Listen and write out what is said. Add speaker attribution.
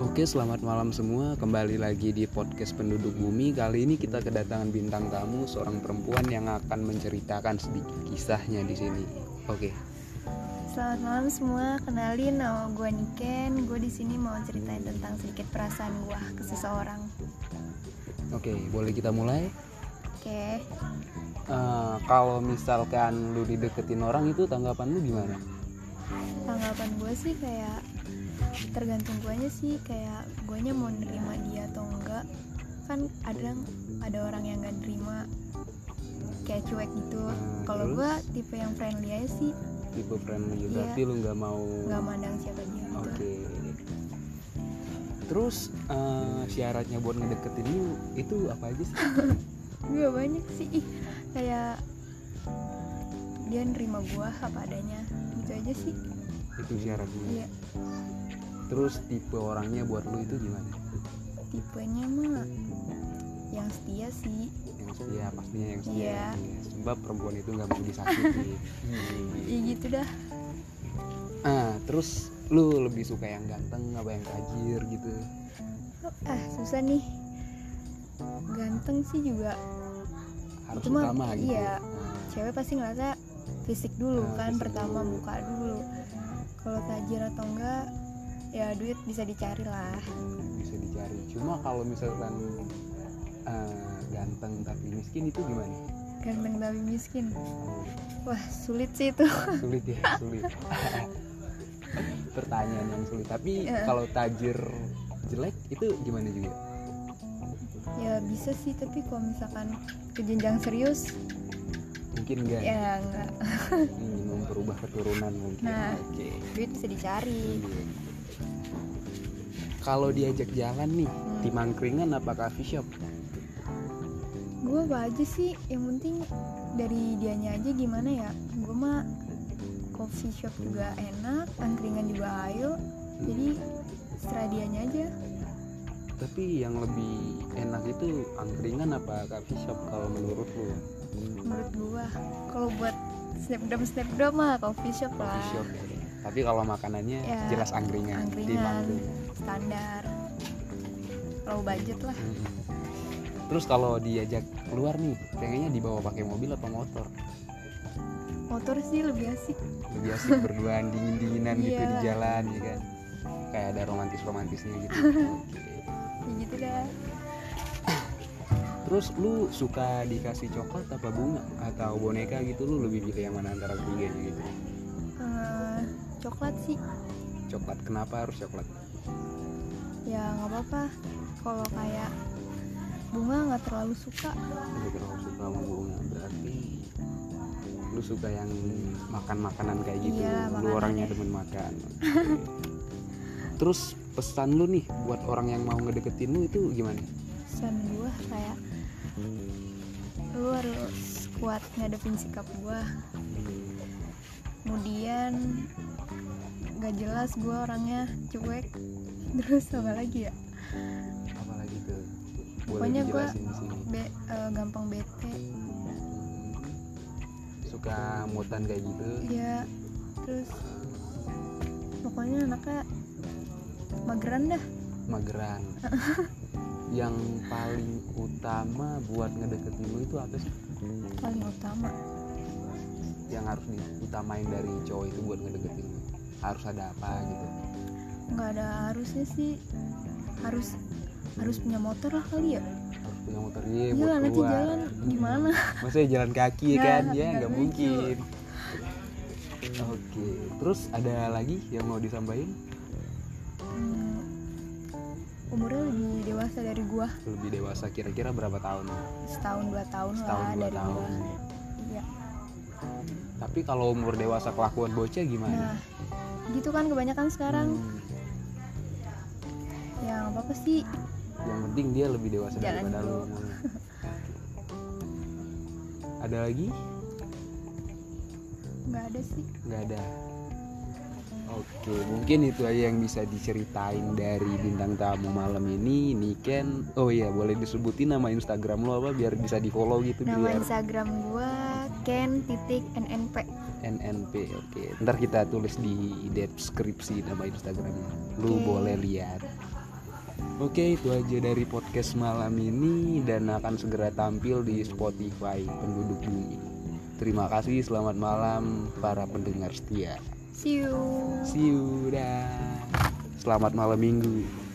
Speaker 1: Oke, selamat malam semua. Kembali lagi di podcast Penduduk Bumi. Kali ini kita kedatangan bintang tamu seorang perempuan yang akan menceritakan sedikit kisahnya di sini. Oke.
Speaker 2: Selamat malam semua, kenalin nama gue Niken. Gue di sini mau ceritain tentang sedikit perasaan gue ke seseorang.
Speaker 1: Oke, boleh kita mulai?
Speaker 2: Oke,
Speaker 1: Eh, kalau misalkan lu dideketin orang itu tanggapan lu gimana?
Speaker 2: tanggapan gue sih kayak tergantung guanya sih kayak guanya mau nerima dia atau enggak. Kan ada ada orang yang gak nerima kayak cuek gitu.
Speaker 1: Hmm,
Speaker 2: Kalau
Speaker 1: terus?
Speaker 2: gue tipe yang friendly aja sih,
Speaker 1: Tipe friendly,
Speaker 2: Iya.
Speaker 1: berarti lu nggak mau.
Speaker 2: nggak mandang siapa dia gitu.
Speaker 1: Oke. Terus eh, syaratnya buat ngedeketin lu itu apa aja sih?
Speaker 2: Gue banyak sih ih, kayak dia nerima gue apa adanya gitu aja sih.
Speaker 1: itu syaratnya.
Speaker 2: Iya.
Speaker 1: Terus tipe orangnya buat lu itu gimana?
Speaker 2: tipenya mah yang setia sih
Speaker 1: yang setia pastinya yang setia
Speaker 2: Iya.
Speaker 1: Iya, sebab perempuan itu nggak mau disakiti
Speaker 2: ya gitu dah
Speaker 1: ah terus lu lebih suka yang ganteng apa yang tajir gitu
Speaker 2: ah susah nih ganteng sih juga
Speaker 1: harus
Speaker 2: Cuma,
Speaker 1: utama gitu
Speaker 2: iya.
Speaker 1: Ah,
Speaker 2: cewek pasti ngerasa fisik dulu
Speaker 1: Ah,
Speaker 2: kan
Speaker 1: fisik
Speaker 2: pertama
Speaker 1: dulu.
Speaker 2: muka dulu kalau tajir atau enggak ya duit bisa dicari lah
Speaker 1: bisa dicari cuma kalau misalkan ah, ganteng tapi miskin itu gimana
Speaker 2: ganteng tapi miskin wah sulit sih itu
Speaker 1: sulit ya sulit pertanyaan yang sulit tapi
Speaker 2: Iya.
Speaker 1: kalau tajir jelek itu gimana juga
Speaker 2: ya bisa sih tapi kalau misalkan ke jenjang serius
Speaker 1: mungkin enggak
Speaker 2: ya enggak
Speaker 1: ingin memperubah keturunan mungkin
Speaker 2: Nah.
Speaker 1: oke
Speaker 2: duit bisa dicari
Speaker 1: Kalau diajak jalan nih di mangkringan apa coffee shop?
Speaker 2: gue apa aja sih yang penting dari dianya aja gimana ya gue mah coffee shop juga enak angkringan juga ayo jadi setelah dianya aja
Speaker 1: Tapi yang lebih enak itu angkringan apa coffee shop kalau menurut lu?
Speaker 2: menurut gue kalau buat snapgram snapgram mah coffee shop lah
Speaker 1: Coffee shop. ya. Tapi kalau makanannya
Speaker 2: Ya,
Speaker 1: jelas angkringan, di
Speaker 2: angkringan.
Speaker 1: mangkringan. Mm-hmm.
Speaker 2: standar low budget lah
Speaker 1: Mm-mm. Terus kalau diajak keluar nih, pengennya dibawa pakai mobil apa motor?
Speaker 2: motor sih lebih asik
Speaker 1: Lebih asik berduaan dingin-dinginan gitu di
Speaker 2: Iya.
Speaker 1: jalan ya kan. Kayak ada romantis-romantisnya gitu. Oke.
Speaker 2: ya gitu dah
Speaker 1: Terus lu suka dikasih coklat apa bunga atau boneka gitu lu lebih pilih yang mana antara ketiganya gitu?
Speaker 2: Eh, coklat sih
Speaker 1: Coklat kenapa harus coklat?
Speaker 2: ya nggak apa-apa kalau kayak bunga nggak terlalu suka
Speaker 1: Lu terlalu suka sama bunga berarti lu suka yang makan makanan kayak gitu.
Speaker 2: Iya,
Speaker 1: lu
Speaker 2: makanan
Speaker 1: orangnya
Speaker 2: ya.
Speaker 1: demen makan. Oke. Terus pesan lu nih buat orang yang mau ngedeketin lu itu gimana?
Speaker 2: pesan gue kayak lu harus kuat ngadepin sikap gue kemudian gak jelas gue orangnya cuek terus apa lagi ya
Speaker 1: Apalagi tuh? Boleh
Speaker 2: Pokoknya gua-
Speaker 1: dijelasin di sini.
Speaker 2: Be- eh, gampang bete
Speaker 1: Suka mutan kayak gitu.
Speaker 2: ya terus pokoknya anaknya mageran dah
Speaker 1: mageran yang paling utama buat ngedeketin lu itu apa sih
Speaker 2: paling utama
Speaker 1: yang harus diutamain dari cowok itu buat ngedeketin lu harus ada apa gitu
Speaker 2: nggak ada harusnya sih harus harus punya motor lah kali ya
Speaker 1: harus punya motor dia buat
Speaker 2: Gila Iya, nanti
Speaker 1: keluar
Speaker 2: jalan gimana
Speaker 1: maksudnya jalan kaki
Speaker 2: Nggak,
Speaker 1: kan ya
Speaker 2: nggak
Speaker 1: nggak
Speaker 2: lucu.
Speaker 1: mungkin oke terus ada lagi yang mau disampaikan
Speaker 2: Hmm, umurnya lebih dewasa dari gua
Speaker 1: lebih dewasa kira-kira berapa tahun
Speaker 2: setahun dua tahun
Speaker 1: setahun
Speaker 2: lah
Speaker 1: dua
Speaker 2: dari
Speaker 1: tahun
Speaker 2: gua iya
Speaker 1: tapi kalau umur dewasa kelakuan bocah
Speaker 2: nah
Speaker 1: gimana
Speaker 2: gitu kan kebanyakan sekarang
Speaker 1: Hmm.
Speaker 2: ya apa apa sih
Speaker 1: yang penting dia lebih dewasa
Speaker 2: Jalan
Speaker 1: daripada lu
Speaker 2: dulu.
Speaker 1: ngomongnya. ada lagi
Speaker 2: nggak ada sih
Speaker 1: nggak ada oke mungkin itu aja yang bisa diceritain dari bintang tamu malam ini Niken oh iya boleh disebutin nama Instagram lo apa biar bisa di follow gitu
Speaker 2: nama
Speaker 1: biar
Speaker 2: instagram gua ken titik nnp
Speaker 1: NNP oke ntar kita tulis di deskripsi nama Instagram lu
Speaker 2: Oke.
Speaker 1: boleh lihat Oke, itu aja dari podcast malam ini dan akan segera tampil di Spotify penduduk bumi. Terima kasih, selamat malam para pendengar setia.
Speaker 2: See you.
Speaker 1: See you, dah. Selamat malam minggu.